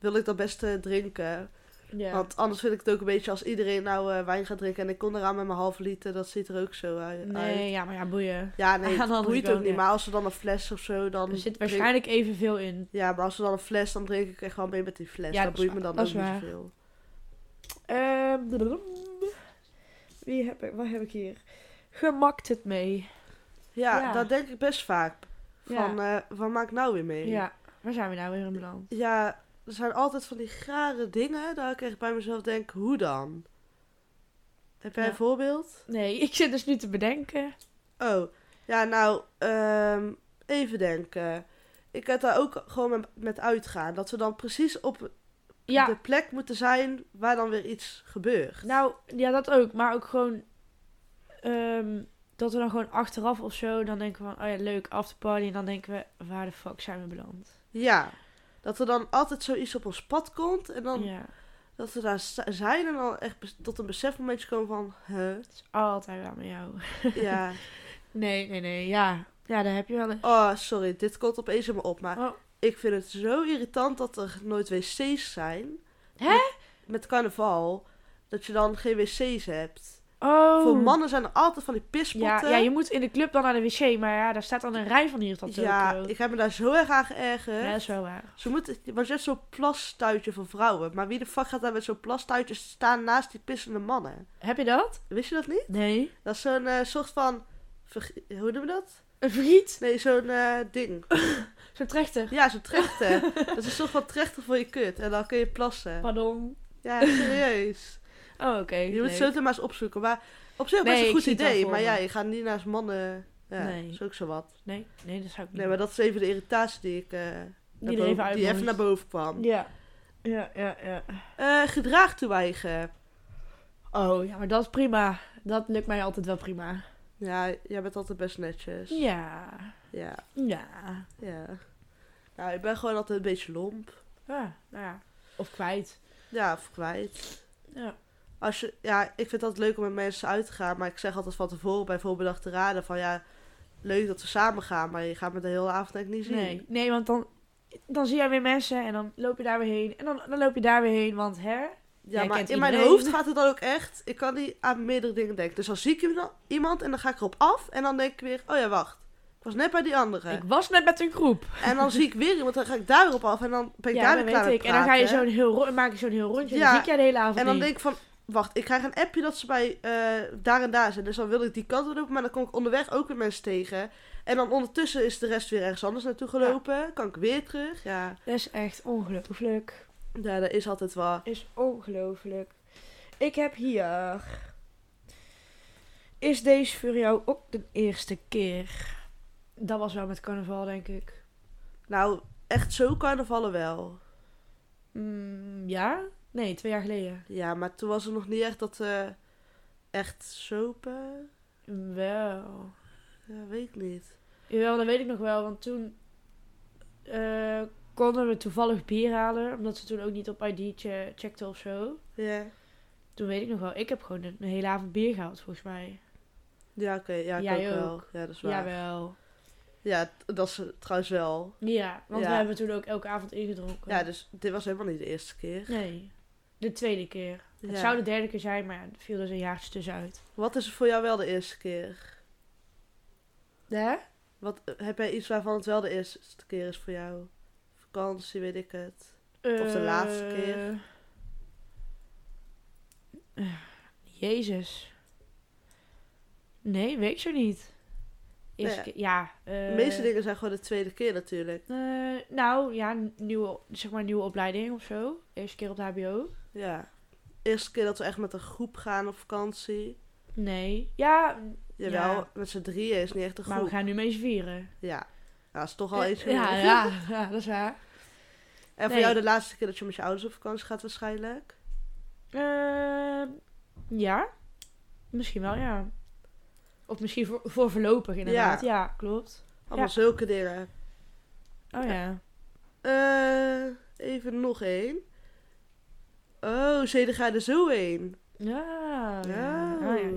Speaker 1: wil ik dat best eh, drinken.
Speaker 2: ja.
Speaker 1: Want anders vind ik het ook een beetje als iedereen nou eh, wijn gaat drinken. En ik kon eraan met mijn halve liter, dat ziet er ook zo eh, uit.
Speaker 2: Nee, ja, maar ja, boeien.
Speaker 1: Ja, nee,
Speaker 2: Aan de
Speaker 1: het
Speaker 2: andere
Speaker 1: boeit ook
Speaker 2: kant,
Speaker 1: niet.
Speaker 2: ja.
Speaker 1: Maar als er dan een fles of zo, dan...
Speaker 2: Er zit
Speaker 1: drink-
Speaker 2: waarschijnlijk evenveel in.
Speaker 1: Ja, maar als er dan een fles, dan drink ik echt wel mee met die fles.
Speaker 2: Ja,
Speaker 1: dat
Speaker 2: dat is
Speaker 1: boeit me
Speaker 2: waar.
Speaker 1: dan ook
Speaker 2: Dat
Speaker 1: niet
Speaker 2: is waar.
Speaker 1: zoveel.
Speaker 2: Ehm, blablabla. Wie heb ik, wat heb ik hier? Gemakt het mee.
Speaker 1: Ja,
Speaker 2: Ja.
Speaker 1: dat denk ik best vaak.
Speaker 2: Ja.
Speaker 1: Van, eh van maak ik nou weer mee?
Speaker 2: Ja, waar zijn we nou weer in beland?
Speaker 1: Ja, er zijn altijd van die rare dingen dat ik echt bij mezelf denk, hoe dan? Heb jij
Speaker 2: Ja.
Speaker 1: een voorbeeld?
Speaker 2: Nee, <laughs> ik zit dus nu te bedenken.
Speaker 1: Oh, ja, nou, ehm, even denken. Ik had daar ook gewoon met, met uitgaan. Dat we dan precies op
Speaker 2: Ja,
Speaker 1: de plek moeten zijn waar dan weer iets gebeurt.
Speaker 2: nou, ja, dat ook. Maar ook gewoon... ehm, dat we dan gewoon achteraf of zo... Dan denken we van, oh ja, leuk, afterparty. En dan denken we, waar de fuck zijn we beland?
Speaker 1: Ja, dat er dan altijd zoiets op ons pad komt. En dan
Speaker 2: Ja,
Speaker 1: dat we daar sta- zijn en dan echt bes- tot een besefmomentje komen van, huh?
Speaker 2: <laughs> het is altijd wel met jou.
Speaker 1: Ja,
Speaker 2: <laughs> Nee, nee, nee, ja. Ja, daar heb je wel een...
Speaker 1: oh, sorry, dit komt opeens in me op, maar...
Speaker 2: Oh,
Speaker 1: Ik vind het zo irritant dat er nooit wc's zijn.
Speaker 2: Hè?
Speaker 1: Met, met carnaval. Dat je dan geen wc's hebt.
Speaker 2: Oh.
Speaker 1: Voor mannen zijn er altijd van die
Speaker 2: Ja,
Speaker 1: pispotten.
Speaker 2: ja, je moet in de club dan naar de wc, maar ja, daar staat dan een rij van hier tot Tokio.
Speaker 1: Ja, ik heb me daar zo erg aan geërgerd.
Speaker 2: eh. Ja, dat is wel waar.
Speaker 1: Ze moeten, want je hebt zo'n plastuitje voor vrouwen. Maar wie de fuck gaat daar met zo'n plastuitje staan naast die pissende mannen?
Speaker 2: Heb je dat?
Speaker 1: Wist je dat niet?
Speaker 2: Nee.
Speaker 1: Dat is zo'n eh, soort van... verg- Hoe noemen we dat?
Speaker 2: Een friet?
Speaker 1: Nee, zo'n eh, ding.
Speaker 2: Zo'n trechter.
Speaker 1: Ja, zo'n
Speaker 2: <laughs>
Speaker 1: trechter. dat is een soort van trechter voor je kut. En dan kun je plassen.
Speaker 2: Pardon.
Speaker 1: Ja,
Speaker 2: <laughs>
Speaker 1: serieus.
Speaker 2: Oh, oké.
Speaker 1: Je moet
Speaker 2: leuk.
Speaker 1: het zo meteen maar eens opzoeken. Maar op zich
Speaker 2: Nee,
Speaker 1: best een
Speaker 2: ik
Speaker 1: goed
Speaker 2: zie het wel
Speaker 1: idee.
Speaker 2: voor
Speaker 1: Maar
Speaker 2: me.
Speaker 1: ja, je gaat niet naast mannen... Ja,
Speaker 2: Nee.
Speaker 1: is ook zo wat.
Speaker 2: Nee, nee, dat zou ik niet
Speaker 1: Nee, maar dat is even de irritatie die ik... eh, naar
Speaker 2: Die er
Speaker 1: boven-
Speaker 2: even uit
Speaker 1: die even
Speaker 2: moest.
Speaker 1: naar boven kwam.
Speaker 2: Ja. Ja, ja, ja.
Speaker 1: Eh, gedrag toewijgen.
Speaker 2: Oh, ja, maar dat is prima. Dat lukt mij altijd wel prima.
Speaker 1: Ja, jij bent altijd best netjes.
Speaker 2: Ja.
Speaker 1: Ja,
Speaker 2: Ja.
Speaker 1: ja. Nou, ik ben gewoon altijd een beetje lomp.
Speaker 2: Ja, nou ja. Of kwijt.
Speaker 1: Ja, of kwijt.
Speaker 2: Ja.
Speaker 1: Als je, ja, ik vind het altijd leuk om met mensen uit te gaan. Maar ik zeg altijd van tevoren bij voorbedachte te raden van ja, leuk dat we samen gaan. Maar je gaat me de hele avond denk ik niet zien.
Speaker 2: Nee, nee want dan, dan zie jij weer mensen en dan loop je daar weer heen. En dan, dan loop je daar weer heen, want hè?
Speaker 1: Ja,
Speaker 2: Jij
Speaker 1: maar in
Speaker 2: kent
Speaker 1: mijn
Speaker 2: iedereen.
Speaker 1: hoofd gaat het dan ook echt. Ik kan niet aan meerdere dingen denken. Dus dan zie ik iemand- iemand en dan ga ik erop af. En dan denk ik weer, oh ja, wacht. Ik was net bij die andere.
Speaker 2: Ik was net met een groep.
Speaker 1: En dan zie ik weer iemand, dan ga ik daarop af. En dan ben ik daar
Speaker 2: dat
Speaker 1: weer klaar mee
Speaker 2: En dan ga je
Speaker 1: praten.
Speaker 2: zo'n heel ro- maak je zo'n heel rondje
Speaker 1: Ja,
Speaker 2: en dan zie ik jij de hele avond
Speaker 1: En dan
Speaker 2: niet.
Speaker 1: denk ik van, wacht, ik krijg een appje dat ze bij eh, daar en daar zijn. Dus dan wil ik die kant op lopen, maar dan kom ik onderweg ook weer mensen tegen. En dan ondertussen is de rest weer ergens anders naartoe gelopen. Kan ik weer terug. Ja,
Speaker 2: Dat is echt ongelooflijk.
Speaker 1: ja dat is altijd wel.
Speaker 2: Is ongelooflijk. Ik heb hier... Is deze voor jou ook de eerste keer? Dat was wel met carnaval, denk ik.
Speaker 1: Nou, echt zo carnavallen wel.
Speaker 2: Mm, ja? Nee, twee jaar geleden.
Speaker 1: Ja, maar toen was er nog niet echt dat... eh, echt sopen?
Speaker 2: Wel.
Speaker 1: Ja, weet ik niet.
Speaker 2: Jawel, dat weet ik nog wel, want toen eh, konden we toevallig bier halen, omdat ze toen ook niet op ID che- checkten of zo.
Speaker 1: Ja,
Speaker 2: Toen weet ik nog wel, ik heb gewoon een, een hele avond bier gehaald, volgens mij.
Speaker 1: ja oké. ja, ik
Speaker 2: Jij
Speaker 1: ook wel.
Speaker 2: ook.
Speaker 1: Ja, dat is waar. Ja,
Speaker 2: Jawel.
Speaker 1: t- dat is eh, trouwens wel.
Speaker 2: Ja, want
Speaker 1: Ja.
Speaker 2: we hebben toen ook elke avond ingedronken.
Speaker 1: Ja, dus dit was helemaal niet de eerste keer.
Speaker 2: Nee, de tweede keer.
Speaker 1: Ja.
Speaker 2: Het zou de derde keer zijn, maar ja, er viel dus een jaartje tussenuit.
Speaker 1: Wat is er voor jou wel de eerste keer?
Speaker 2: Hè?
Speaker 1: Wat eh, heb jij iets waarvan het wel de eerste keer is voor jou? Vakantie, weet ik het. Of de laatste keer.
Speaker 2: Eh, Jezus. Nee, weet ik zo niet. Eerste
Speaker 1: Nee.
Speaker 2: keer, ja. eh,
Speaker 1: De meeste dingen zijn gewoon de tweede keer natuurlijk.
Speaker 2: eh, nou, ja, n- nieuwe, zeg maar nieuwe opleiding of zo. Eerste keer op de hbo.
Speaker 1: Ja. Eerste keer dat we echt met een groep gaan op vakantie.
Speaker 2: Nee. Ja,
Speaker 1: Jawel,
Speaker 2: Ja.
Speaker 1: met z'n drieën is niet echt een
Speaker 2: maar we
Speaker 1: groep.
Speaker 2: gaan nu mee eens vieren.
Speaker 1: Ja. Ja, dat is toch al iets.
Speaker 2: ja,
Speaker 1: meer.
Speaker 2: ja,
Speaker 1: <laughs>
Speaker 2: ja, dat is waar.
Speaker 1: En voor
Speaker 2: Nee.
Speaker 1: jou de laatste keer dat je met je ouders op vakantie gaat waarschijnlijk?
Speaker 2: Ehm, ja, misschien wel, ja. Of misschien voor, voor voorlopig inderdaad. Ja, klopt.
Speaker 1: Allemaal
Speaker 2: Ja.
Speaker 1: zulke dingen.
Speaker 2: Oh ja.
Speaker 1: Eh, even nog één. Oh, zeden ga je er zo heen.
Speaker 2: Ja. Ja.
Speaker 1: Oh.
Speaker 2: Oh, ja.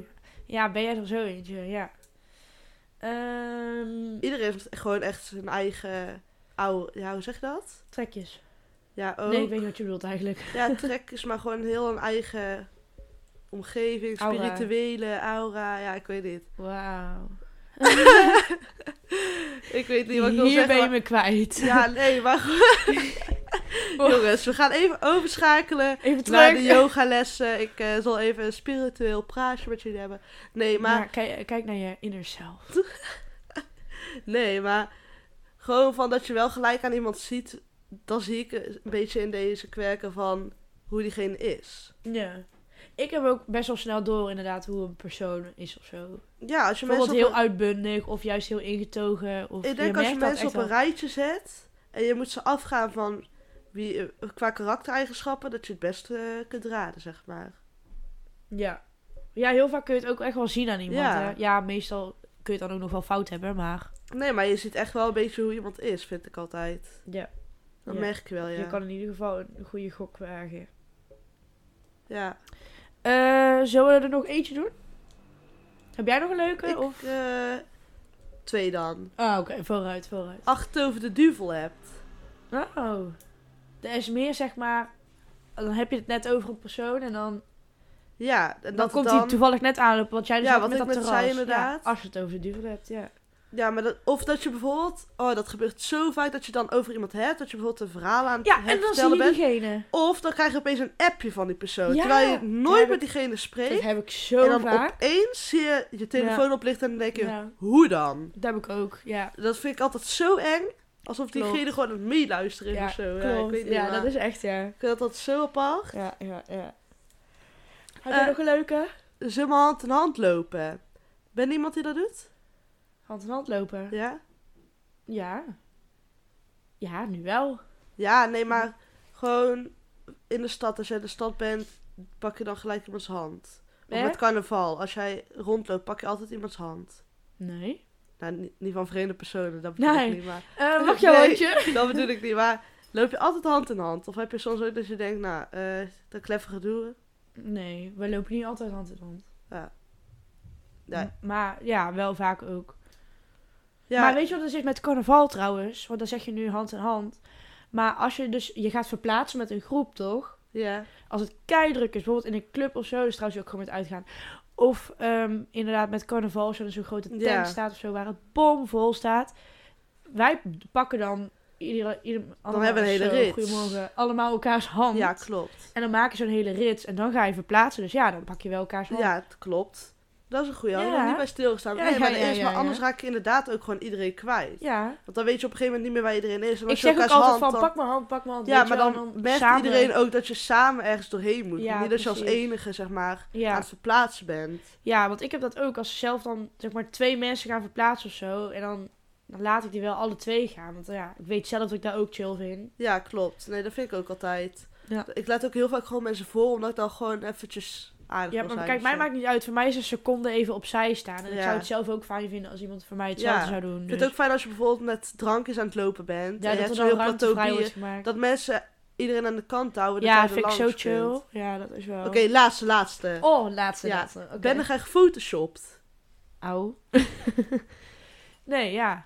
Speaker 2: ja, ben jij er zo eentje, ja. Ehm,
Speaker 1: Iedereen heeft gewoon echt zijn eigen oude... Ja, hoe zeg je dat?
Speaker 2: trekjes.
Speaker 1: Ja, oh. ook.
Speaker 2: Nee, ik weet niet wat je bedoelt eigenlijk.
Speaker 1: Ja, trek is maar gewoon heel een eigen omgeving,
Speaker 2: Aura.
Speaker 1: spirituele aura. Ja, ik weet niet.
Speaker 2: Wauw.
Speaker 1: Ik weet niet wat ik wil
Speaker 2: Hier
Speaker 1: zeggen.
Speaker 2: ben je
Speaker 1: maar-
Speaker 2: me kwijt.
Speaker 1: Ja, nee, maar <laughs>
Speaker 2: Oh.
Speaker 1: jongens, we gaan even overschakelen
Speaker 2: Even
Speaker 1: naar
Speaker 2: terug. <laughs>
Speaker 1: de yogalessen. Ik eh, zal even een spiritueel praatje met jullie hebben. Nee, maar,
Speaker 2: Ja, kijk, kijk naar je inner self.
Speaker 1: nee, maar gewoon van dat je wel gelijk aan iemand ziet, dan zie ik een beetje in deze kwerken van hoe diegene is.
Speaker 2: Ja. Ik heb ook best wel snel door inderdaad hoe een persoon is of zo.
Speaker 1: Ja, als je mensen
Speaker 2: Bijvoorbeeld
Speaker 1: op
Speaker 2: heel
Speaker 1: een-
Speaker 2: uitbundig of juist heel ingetogen. Of,
Speaker 1: Ik denk als je
Speaker 2: merkt dat
Speaker 1: mensen op
Speaker 2: echt
Speaker 1: een
Speaker 2: wel.
Speaker 1: rijtje zet en je moet ze afgaan van wie, eh, qua karaktereigenschappen, dat je het beste eh, kunt raden, zeg maar.
Speaker 2: Ja. Ja, heel vaak kun je het ook echt wel zien aan iemand.
Speaker 1: Ja.
Speaker 2: Ja, ja meestal kun je het dan ook nog wel fout hebben, maar...
Speaker 1: Nee, maar je ziet echt wel een beetje hoe iemand is, vind ik altijd.
Speaker 2: Ja.
Speaker 1: Dat
Speaker 2: Ja.
Speaker 1: merk je wel, ja.
Speaker 2: Je kan in ieder geval een goede gok wagen.
Speaker 1: Ja.
Speaker 2: Eh, zullen we er nog eentje doen? Heb jij nog een leuke?
Speaker 1: Ik,
Speaker 2: of...
Speaker 1: eh, twee dan.
Speaker 2: Ah, oké. Vooruit, vooruit.
Speaker 1: Acht over de duvel hebt.
Speaker 2: Oh. Er is meer, zeg maar... Dan heb je het net over een persoon en dan...
Speaker 1: Ja, en
Speaker 2: Dan
Speaker 1: dat
Speaker 2: komt
Speaker 1: dan...
Speaker 2: hij toevallig net aanlopen, want jij dus
Speaker 1: Ja,
Speaker 2: ook
Speaker 1: wat
Speaker 2: met
Speaker 1: ik
Speaker 2: dat
Speaker 1: net
Speaker 2: terras.
Speaker 1: zei inderdaad.
Speaker 2: Ja, als je het over de duvel hebt, ja.
Speaker 1: Ja, maar dat, of dat je bijvoorbeeld... Oh, dat gebeurt zo vaak dat je dan over iemand hebt. Dat je bijvoorbeeld een verhaal aan het
Speaker 2: Ja, en dan zie
Speaker 1: hervertellen
Speaker 2: je
Speaker 1: bent.
Speaker 2: diegene.
Speaker 1: Of dan krijg je opeens een appje van die persoon.
Speaker 2: Ja,
Speaker 1: terwijl je nooit
Speaker 2: heb
Speaker 1: met diegene spreekt.
Speaker 2: Dat heb ik
Speaker 1: En
Speaker 2: zo
Speaker 1: dan
Speaker 2: vaak.
Speaker 1: opeens zie je je telefoon oplichten en dan denk je...
Speaker 2: Ja,
Speaker 1: Hoe dan?
Speaker 2: dat heb ik ook, ja.
Speaker 1: Dat vind ik altijd zo eng. Alsof
Speaker 2: Klopt.
Speaker 1: diegene gewoon aan het meeluisteren is
Speaker 2: Ja,
Speaker 1: of zo. Ja, ik
Speaker 2: Klopt.
Speaker 1: weet niet,
Speaker 2: ja,
Speaker 1: maar
Speaker 2: dat is echt, ja.
Speaker 1: Ik vind dat altijd zo apart.
Speaker 2: Ja, ja, ja. Heb
Speaker 1: jij
Speaker 2: jij
Speaker 1: nog
Speaker 2: nog een leuke?
Speaker 1: Zullen we Dus hand in hand lopen? Ben je iemand die dat doet?
Speaker 2: Hand in hand lopen.
Speaker 1: Ja?
Speaker 2: Ja. Ja, nu wel.
Speaker 1: Ja, nee, maar gewoon in de stad. Als jij in de stad bent, pak je dan gelijk iemands hand. Of
Speaker 2: Hè?
Speaker 1: met carnaval. Als jij rondloopt, pak je altijd iemands hand.
Speaker 2: Nee.
Speaker 1: Nou, niet, niet van vreemde personen, dat bedoel
Speaker 2: Nee.
Speaker 1: ik niet. Maar,
Speaker 2: <laughs> Eh, mag jouw
Speaker 1: Nee.
Speaker 2: handje?
Speaker 1: dat bedoel ik niet. Maar loop je altijd hand in hand? Of heb je soms ook dat je denkt, nou, eh dat kleffe gedoe.
Speaker 2: Nee, we lopen niet altijd hand in hand.
Speaker 1: Ja. Nee.
Speaker 2: M- Maar ja, wel vaak ook.
Speaker 1: Ja,
Speaker 2: Maar weet je wat er zit met carnaval trouwens? Want dan zeg je nu hand in hand. Maar als je dus, je gaat verplaatsen met een groep toch?
Speaker 1: ja.
Speaker 2: Als het keidruk is, bijvoorbeeld in een club of zo, dus trouwens ook gewoon met uitgaan. Of ehm, inderdaad met carnaval, als er zo'n grote tent
Speaker 1: Ja.
Speaker 2: staat of zo, waar het bomvol staat. Wij pakken dan ieder, ieder allemaal
Speaker 1: hebben we een
Speaker 2: zo,
Speaker 1: hele rits.
Speaker 2: Goedemorgen. Allemaal elkaars hand.
Speaker 1: ja, klopt.
Speaker 2: En dan maak je zo'n hele rits en dan ga je verplaatsen. Dus ja, dan pak je wel elkaars hand.
Speaker 1: Ja, het klopt. Dat is een goede. Ja. Ik
Speaker 2: Ja.
Speaker 1: heb niet bij stilgestaan.
Speaker 2: Ja,
Speaker 1: nee, maar,
Speaker 2: ja,
Speaker 1: dat is,
Speaker 2: ja,
Speaker 1: maar
Speaker 2: ja,
Speaker 1: anders
Speaker 2: ja.
Speaker 1: raak je inderdaad ook gewoon iedereen kwijt.
Speaker 2: Ja.
Speaker 1: Want dan weet je op een gegeven moment niet meer waar iedereen is. En
Speaker 2: Ik
Speaker 1: als je
Speaker 2: zeg ook
Speaker 1: elkaars
Speaker 2: altijd van,
Speaker 1: hand dan-
Speaker 2: pak mijn hand, pak mijn hand.
Speaker 1: Ja,
Speaker 2: weet
Speaker 1: maar
Speaker 2: je wel,
Speaker 1: dan,
Speaker 2: en
Speaker 1: merkt
Speaker 2: samen-
Speaker 1: iedereen ook dat je samen ergens doorheen moet.
Speaker 2: Ja,
Speaker 1: niet dat je als
Speaker 2: precies.
Speaker 1: enige, zeg maar, aan
Speaker 2: Ja.
Speaker 1: het verplaatsen bent.
Speaker 2: ja, want ik heb dat ook. Als ze zelf dan zeg maar twee mensen gaan verplaatsen of zo. En dan, dan laat ik die wel alle twee gaan. Want ja, ik weet zelf dat ik daar ook chill vind.
Speaker 1: Ja, klopt. Nee, dat vind ik ook altijd.
Speaker 2: Ja.
Speaker 1: Ik laat ook heel vaak gewoon mensen voor, omdat ik dan gewoon eventjes aardig
Speaker 2: Ja,
Speaker 1: wil
Speaker 2: maar
Speaker 1: zijn
Speaker 2: kijk,
Speaker 1: of
Speaker 2: mij
Speaker 1: zo.
Speaker 2: maakt niet uit. Voor mij is een seconde even opzij staan. En ik
Speaker 1: Ja.
Speaker 2: zou het zelf ook fijn vinden als iemand voor mij hetzelfde
Speaker 1: Ja.
Speaker 2: zou doen.
Speaker 1: Ik vind
Speaker 2: Dus-
Speaker 1: het ook fijn als je bijvoorbeeld met drankjes aan het lopen bent.
Speaker 2: ja,
Speaker 1: en je
Speaker 2: dat
Speaker 1: hebt zo'n
Speaker 2: er dan
Speaker 1: heel
Speaker 2: ruimte
Speaker 1: plateau
Speaker 2: vrij
Speaker 1: bier.
Speaker 2: wordt gemaakt.
Speaker 1: Dat mensen iedereen aan de kant houden.
Speaker 2: ja,
Speaker 1: dat
Speaker 2: vind
Speaker 1: jij
Speaker 2: ik
Speaker 1: er
Speaker 2: zo
Speaker 1: langs
Speaker 2: chill.
Speaker 1: kunt.
Speaker 2: Ja, dat is wel.
Speaker 1: Oké, laatste, laatste.
Speaker 2: Oh, laatste,
Speaker 1: Ja.
Speaker 2: laatste. Oké.
Speaker 1: Ben er graag gefotoshopt? <laughs>
Speaker 2: Auw. nee, ja.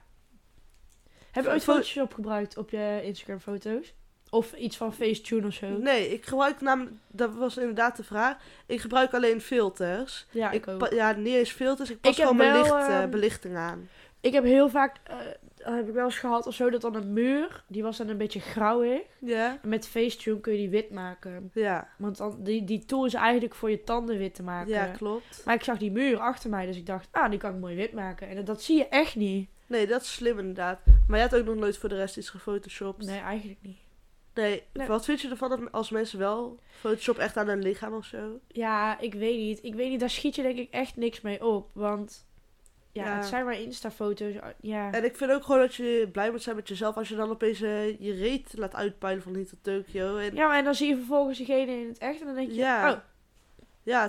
Speaker 2: Heb je ooit
Speaker 1: Fo-
Speaker 2: Photoshop gebruikt op je Instagram foto's? Of iets van Facetune of zo?
Speaker 1: Nee, ik gebruik namelijk... Dat was inderdaad de vraag. Ik gebruik alleen filters.
Speaker 2: Ja, ik,
Speaker 1: ik
Speaker 2: ook.
Speaker 1: pa- ja, niet eens filters. Ik pas
Speaker 2: Ik heb
Speaker 1: gewoon mijn
Speaker 2: wel,
Speaker 1: licht, eh,
Speaker 2: ehm,
Speaker 1: belichting aan.
Speaker 2: Ik heb heel vaak, eh, heb ik wel eens gehad of zo, dat dan een muur, die was dan een beetje grauwig.
Speaker 1: Ja?
Speaker 2: En met Facetune kun je die wit maken.
Speaker 1: Ja,
Speaker 2: Want dan, die, die tool is eigenlijk voor je tanden wit te maken.
Speaker 1: ja klopt.
Speaker 2: maar ik zag die muur achter mij, dus ik dacht, ah, die kan ik mooi wit maken. En dat, dat zie je echt niet.
Speaker 1: Nee, dat is slim inderdaad. Maar jij hebt ook nog nooit voor de rest iets gefotoshopt.
Speaker 2: Nee, eigenlijk niet.
Speaker 1: Nee,
Speaker 2: Nee.
Speaker 1: Wat vind je ervan dat als mensen wel Photoshop echt aan hun lichaam of zo?
Speaker 2: Ja, ik weet niet. Ik weet niet, daar schiet je denk ik echt niks mee op. Want ja,
Speaker 1: Ja.
Speaker 2: het zijn maar Insta-foto's. Oh, Ja.
Speaker 1: En ik vind ook gewoon dat je blij moet zijn met jezelf als je dan opeens eh, je reet laat uitpuilen van hier tot Tokio. En, ja.
Speaker 2: ja, maar en dan zie je vervolgens diegene in het echt en dan denk je...
Speaker 1: Ja.
Speaker 2: Oh,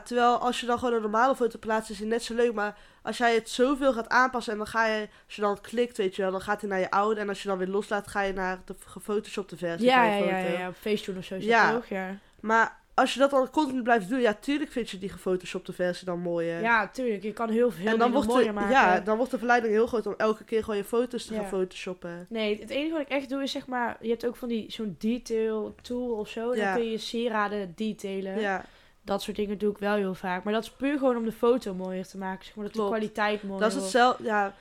Speaker 1: terwijl als je dan gewoon een normale foto plaatst is die net zo leuk. Maar als jij het zoveel gaat aanpassen en dan ga je, als je dan klikt, weet je wel, dan gaat hij naar je oude. En als je dan weer loslaat, ga je naar de gefotoshopte versie
Speaker 2: ja,
Speaker 1: van
Speaker 2: ja,
Speaker 1: je
Speaker 2: ja,
Speaker 1: foto.
Speaker 2: ja, ja, op Facetune of zo is
Speaker 1: Ja.
Speaker 2: dat toch? Ja.
Speaker 1: Maar als je dat al continu blijft doen, ja, tuurlijk vind je die gefotoshopte versie dan mooier.
Speaker 2: ja, tuurlijk. Je kan heel veel
Speaker 1: Eh, en dan wordt,
Speaker 2: mooier
Speaker 1: de,
Speaker 2: maken.
Speaker 1: ja, dan wordt de verleiding heel groot om elke keer gewoon je foto's te
Speaker 2: Ja.
Speaker 1: gaan photoshoppen.
Speaker 2: Nee, het enige wat ik echt doe is zeg maar... Je hebt ook van die zo'n detail tool of zo. En
Speaker 1: Ja.
Speaker 2: dan kun je je sieraden
Speaker 1: Ja.
Speaker 2: detailen. Dat soort dingen doe ik wel heel vaak. Maar dat is puur gewoon om de foto mooier te maken. Zeg maar dat
Speaker 1: Klopt.
Speaker 2: de kwaliteit mooier
Speaker 1: dat is
Speaker 2: wordt.
Speaker 1: hetzelfde. Ja,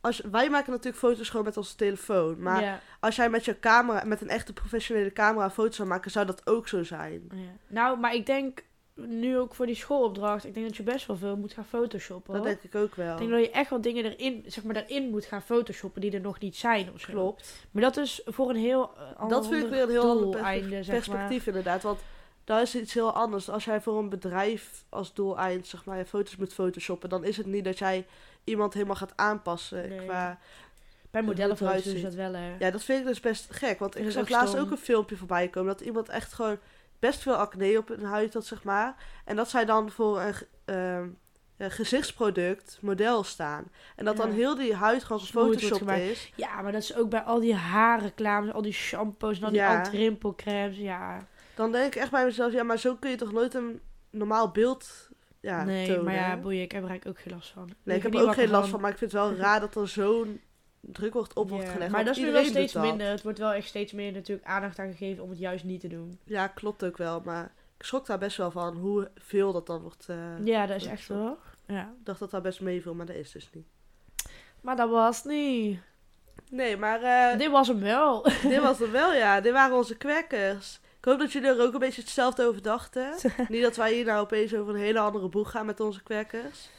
Speaker 1: als, wij maken natuurlijk foto's gewoon met onze telefoon. Maar
Speaker 2: Ja.
Speaker 1: als jij met je camera, met een echte professionele camera foto's zou maken, zou dat ook zo zijn.
Speaker 2: Ja. Nou, maar ik denk nu ook voor die schoolopdracht, ik denk dat je best wel veel moet gaan photoshoppen.
Speaker 1: Dat
Speaker 2: hoor.
Speaker 1: denk ik ook wel.
Speaker 2: Ik denk dat je echt wel dingen erin, zeg maar, daarin moet gaan photoshoppen die er nog niet zijn of zo.
Speaker 1: Klopt.
Speaker 2: Maar dat is voor een heel eh, ander
Speaker 1: Dat vind ik weer een heel ander pers-
Speaker 2: doeleinde, zeg
Speaker 1: perspectief inderdaad. Want daar is iets heel anders. Als jij voor een bedrijf als doeleind zeg maar, je foto's moet photoshoppen, dan is het niet dat jij iemand helemaal gaat aanpassen
Speaker 2: Nee.
Speaker 1: qua
Speaker 2: Maar. Bij modellenfoto's
Speaker 1: eruit
Speaker 2: is dat wel, hè.
Speaker 1: Ja, dat vind ik dus best gek. Want
Speaker 2: Dat
Speaker 1: ik
Speaker 2: is
Speaker 1: zag
Speaker 2: ook
Speaker 1: laatst
Speaker 2: stom.
Speaker 1: ook een filmpje voorbij komen. Dat iemand echt gewoon best veel acne op hun huid had, zeg maar. En dat zij dan voor een, ge- ehm, een gezichtsproduct model staan. En dat dan
Speaker 2: Ja.
Speaker 1: heel die huid gewoon
Speaker 2: Smooth wordt
Speaker 1: gefotoshopt
Speaker 2: gemaakt.
Speaker 1: is.
Speaker 2: Ja, maar dat is ook bij al die haarreclames, al die shampoos en al die
Speaker 1: Ja.
Speaker 2: antrimpelcremes. Ja,
Speaker 1: Dan denk ik echt bij mezelf, ja, maar zo kun je toch nooit een normaal beeld ja,
Speaker 2: nee,
Speaker 1: tonen.
Speaker 2: maar ja, boeien, ik heb er eigenlijk ook geen last van.
Speaker 1: nee, ik heb
Speaker 2: er niet
Speaker 1: er ook
Speaker 2: wakker
Speaker 1: geen last van, maar ik vind het wel raar dat er zo'n druk wordt op wordt
Speaker 2: Ja,
Speaker 1: gelegd.
Speaker 2: Maar
Speaker 1: want
Speaker 2: dat is nu wel
Speaker 1: iedereen doet
Speaker 2: steeds
Speaker 1: dat.
Speaker 2: minder. Het wordt wel echt steeds meer natuurlijk aandacht aan gegeven om het juist niet te doen.
Speaker 1: Ja, klopt ook wel, maar ik schrok daar best wel van hoeveel dat dan wordt. eh,
Speaker 2: Ja, dat is
Speaker 1: dat
Speaker 2: echt
Speaker 1: klopt.
Speaker 2: wel. Ja.
Speaker 1: Ik dacht dat daar best meeviel, maar dat is dus niet.
Speaker 2: Maar dat was het niet.
Speaker 1: Nee, maar eh,
Speaker 2: Dit was hem wel.
Speaker 1: dit was het wel, ja. Dit waren onze kwekkers. Ik hoop dat jullie er ook een beetje hetzelfde over
Speaker 2: <laughs>
Speaker 1: dachten. niet dat wij hier nou opeens over een hele andere boeg gaan met onze kwekkers.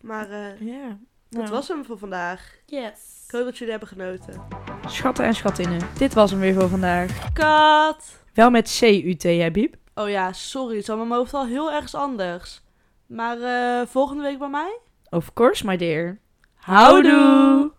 Speaker 1: Maar eh
Speaker 2: <laughs> Ja. Nou.
Speaker 1: dat was hem voor vandaag.
Speaker 2: Yes.
Speaker 1: Ik hoop dat jullie hebben genoten.
Speaker 2: Schatten en schattinnen. Dit was hem weer voor vandaag.
Speaker 1: Kat!
Speaker 2: Wel met C-U-T, hè, Biep?
Speaker 1: Oh ja, sorry. Het is allemaal mijn hoofd al heel ergens anders. Maar eh, volgende week bij mij?
Speaker 2: Of course, my dear.
Speaker 1: Houdoe!